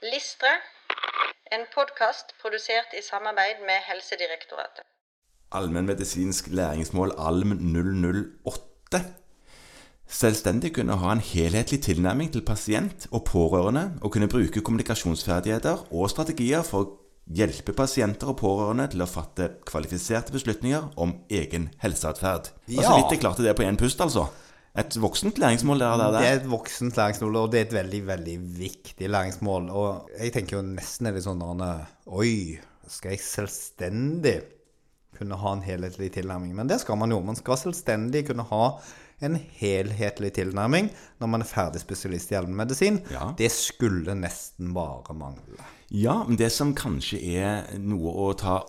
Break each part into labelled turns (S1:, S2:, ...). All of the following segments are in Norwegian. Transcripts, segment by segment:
S1: Listre, en podkast produsert i samarbeid med Helsedirektoratet.
S2: Allmennmedisinsk læringsmål ALM 008. Selvstendig kunne ha en helhetlig tilnærming til pasient og pårørende, og kunne bruke kommunikasjonsferdigheter og strategier for å hjelpe pasienter og pårørende til å fatte kvalifiserte beslutninger om egen helseatferd. Og så
S3: Ja.
S2: vidt jeg klarte det på én pust, altså. Et voksent læringsmål der, der,
S3: Det
S2: der.
S3: er et voksent læringsmål, og det er et veldig, veldig viktig læringsmål. Og jeg tenker jo nesten er det sånn Arne, Oi, skal jeg selvstendig kunne ha en helhetlig tilnærming? Men det skal man jo. Man skal selvstendig kunne ha en helhetlig tilnærming når man er ferdig spesialist i allmennmedisin.
S2: Ja.
S3: Det skulle nesten bare mangle.
S2: Ja, men det som kanskje er noe å ta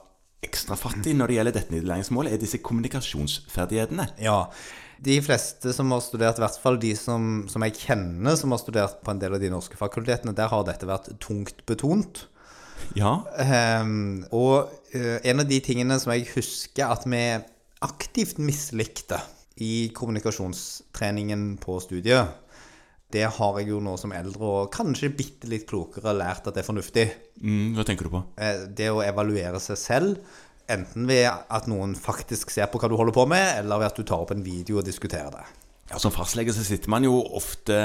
S2: ekstra fatt i når det gjelder dette læringsmålet, er disse kommunikasjonsferdighetene.
S3: Ja. De fleste som har studert, i hvert fall de som, som jeg kjenner som har studert på en del av de norske fakultetene, der har dette vært tungt betont.
S2: Ja,
S3: Ehm, og eh, en av de tingene som jeg husker at vi aktivt mislikte i kommunikasjonstreningen på studiet, det har jeg jo nå som eldre og kanskje bitte litt klokere lært at det er fornuftig
S2: mm, hva tenker du på?
S3: eh, det å evaluere seg selv, enten ved at noen faktisk ser på hva du holder på med, eller ved at du tar opp en video og diskuterer det.
S2: Ja, Som fastlege så sitter man jo ofte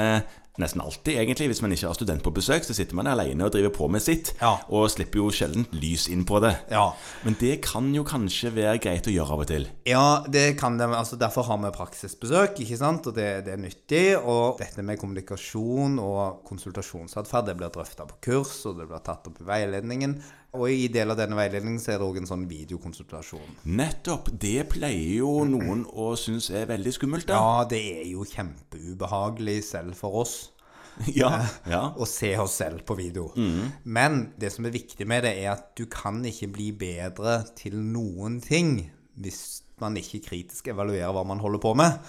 S2: Nesten alltid, egentlig. Hvis man ikke har student på besøk, så sitter man alene og driver på med sitt.
S3: Ja.
S2: Og slipper jo sjelden lys inn på det.
S3: Ja.
S2: Men det kan jo kanskje være greit å gjøre av og til.
S3: Ja, det kan det, altså derfor har vi praksisbesøk, ikke sant, og det, det er nyttig, og dette med kommunikasjon og konsultasjonsatferd, det blir drøftet på kurs, og det blir tatt opp i veiledningen, og i del av denne veiledningen så er det også en sånn videokonsultasjon.
S2: Nettopp. Det pleier jo noen å synes er veldig skummelt, da.
S3: Ja, det er jo kjempeubehagelig selv for oss.
S2: Ja. ja.
S3: og se oss selv på video. Men det som er viktig med det, er at du kan ikke bli bedre til noen ting hvis man ikke kritisk evaluerer hva man holder på med.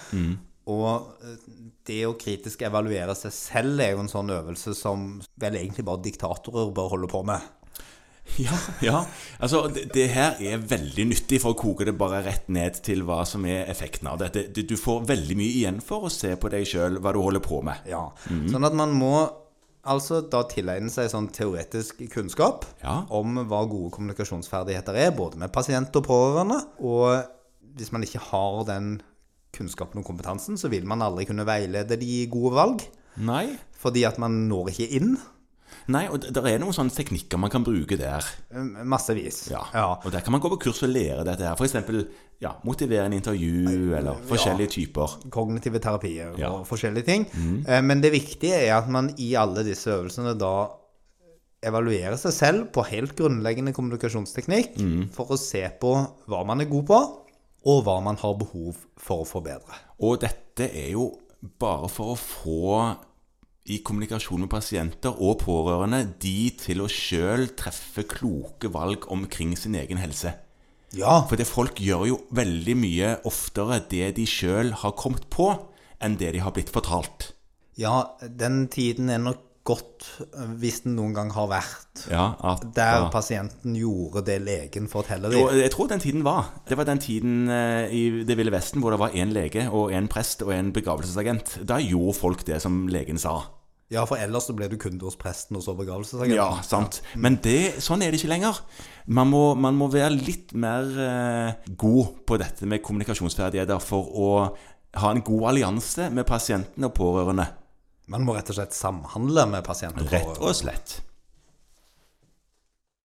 S3: Og eh, det å kritisk evaluere seg selv er jo en sånn øvelse som vel egentlig bare diktatorer bør holde på med.
S2: Ja, ja. Altså, det, det her er veldig nyttig for å koke det bare rett ned til hva som er effekten av dette. Du, du får veldig mye igjen for å se på deg sjøl hva du holder på med.
S3: Ja.
S2: Mhm.
S3: Sånn at man må altså da tilegne seg sånn teoretisk kunnskap
S2: Ja.
S3: om hva gode kommunikasjonsferdigheter er, både med pasient og pårørende. Og hvis man ikke har den kunnskapen og kompetansen, så vil man aldri kunne veilede de i gode valg.
S2: Nei.
S3: Fordi at man når ikke inn.
S2: Nei, og det der er noen sånne teknikker man kan bruke der.
S3: eh, Massevis.
S2: Ja.
S3: ja.
S2: Og der kan man gå på kurs og lære dette her. F.eks. Ja, motiverende intervju, eller forskjellige typer.
S3: kognitive terapier
S2: Ja. Mm.
S3: og forskjellige ting. Eh, Men det viktige er at man i alle disse øvelsene da evaluerer seg selv på helt grunnleggende kommunikasjonsteknikk
S2: Mm.
S3: for å se på hva man er god på, og hva man har behov for å forbedre.
S2: Og dette er jo bare for å få i kommunikasjon med pasienter og pårørende de til å sjøl treffe kloke valg omkring sin egen helse.
S3: Ja,
S2: For det folk gjør jo veldig mye oftere det de sjøl har kommet på, enn det de har blitt fortalt.
S3: ja den tiden er nok godt eh, hvis den noen gang har vært.
S2: Ja, at,
S3: Der
S2: ja.
S3: pasienten gjorde det legen forteller
S2: Og
S3: dem.
S2: jeg tror den tiden var. Det var den tiden eh, i Det ville vesten hvor det var én lege og én prest og en begravelsesagent. Da gjorde folk det som legen sa.
S3: Ja, for ellers så ble du kunde hos presten og så begravelsesagenten.
S2: Ja, sant. Men det, sånn er det ikke lenger. Man må, man må være litt mer eh, god på dette med kommunikasjonsferdigheter for å ha en god allianse med pasientene og pårørende.
S3: Man må rett og slett samhandle med pasienter.
S2: Rett og slett.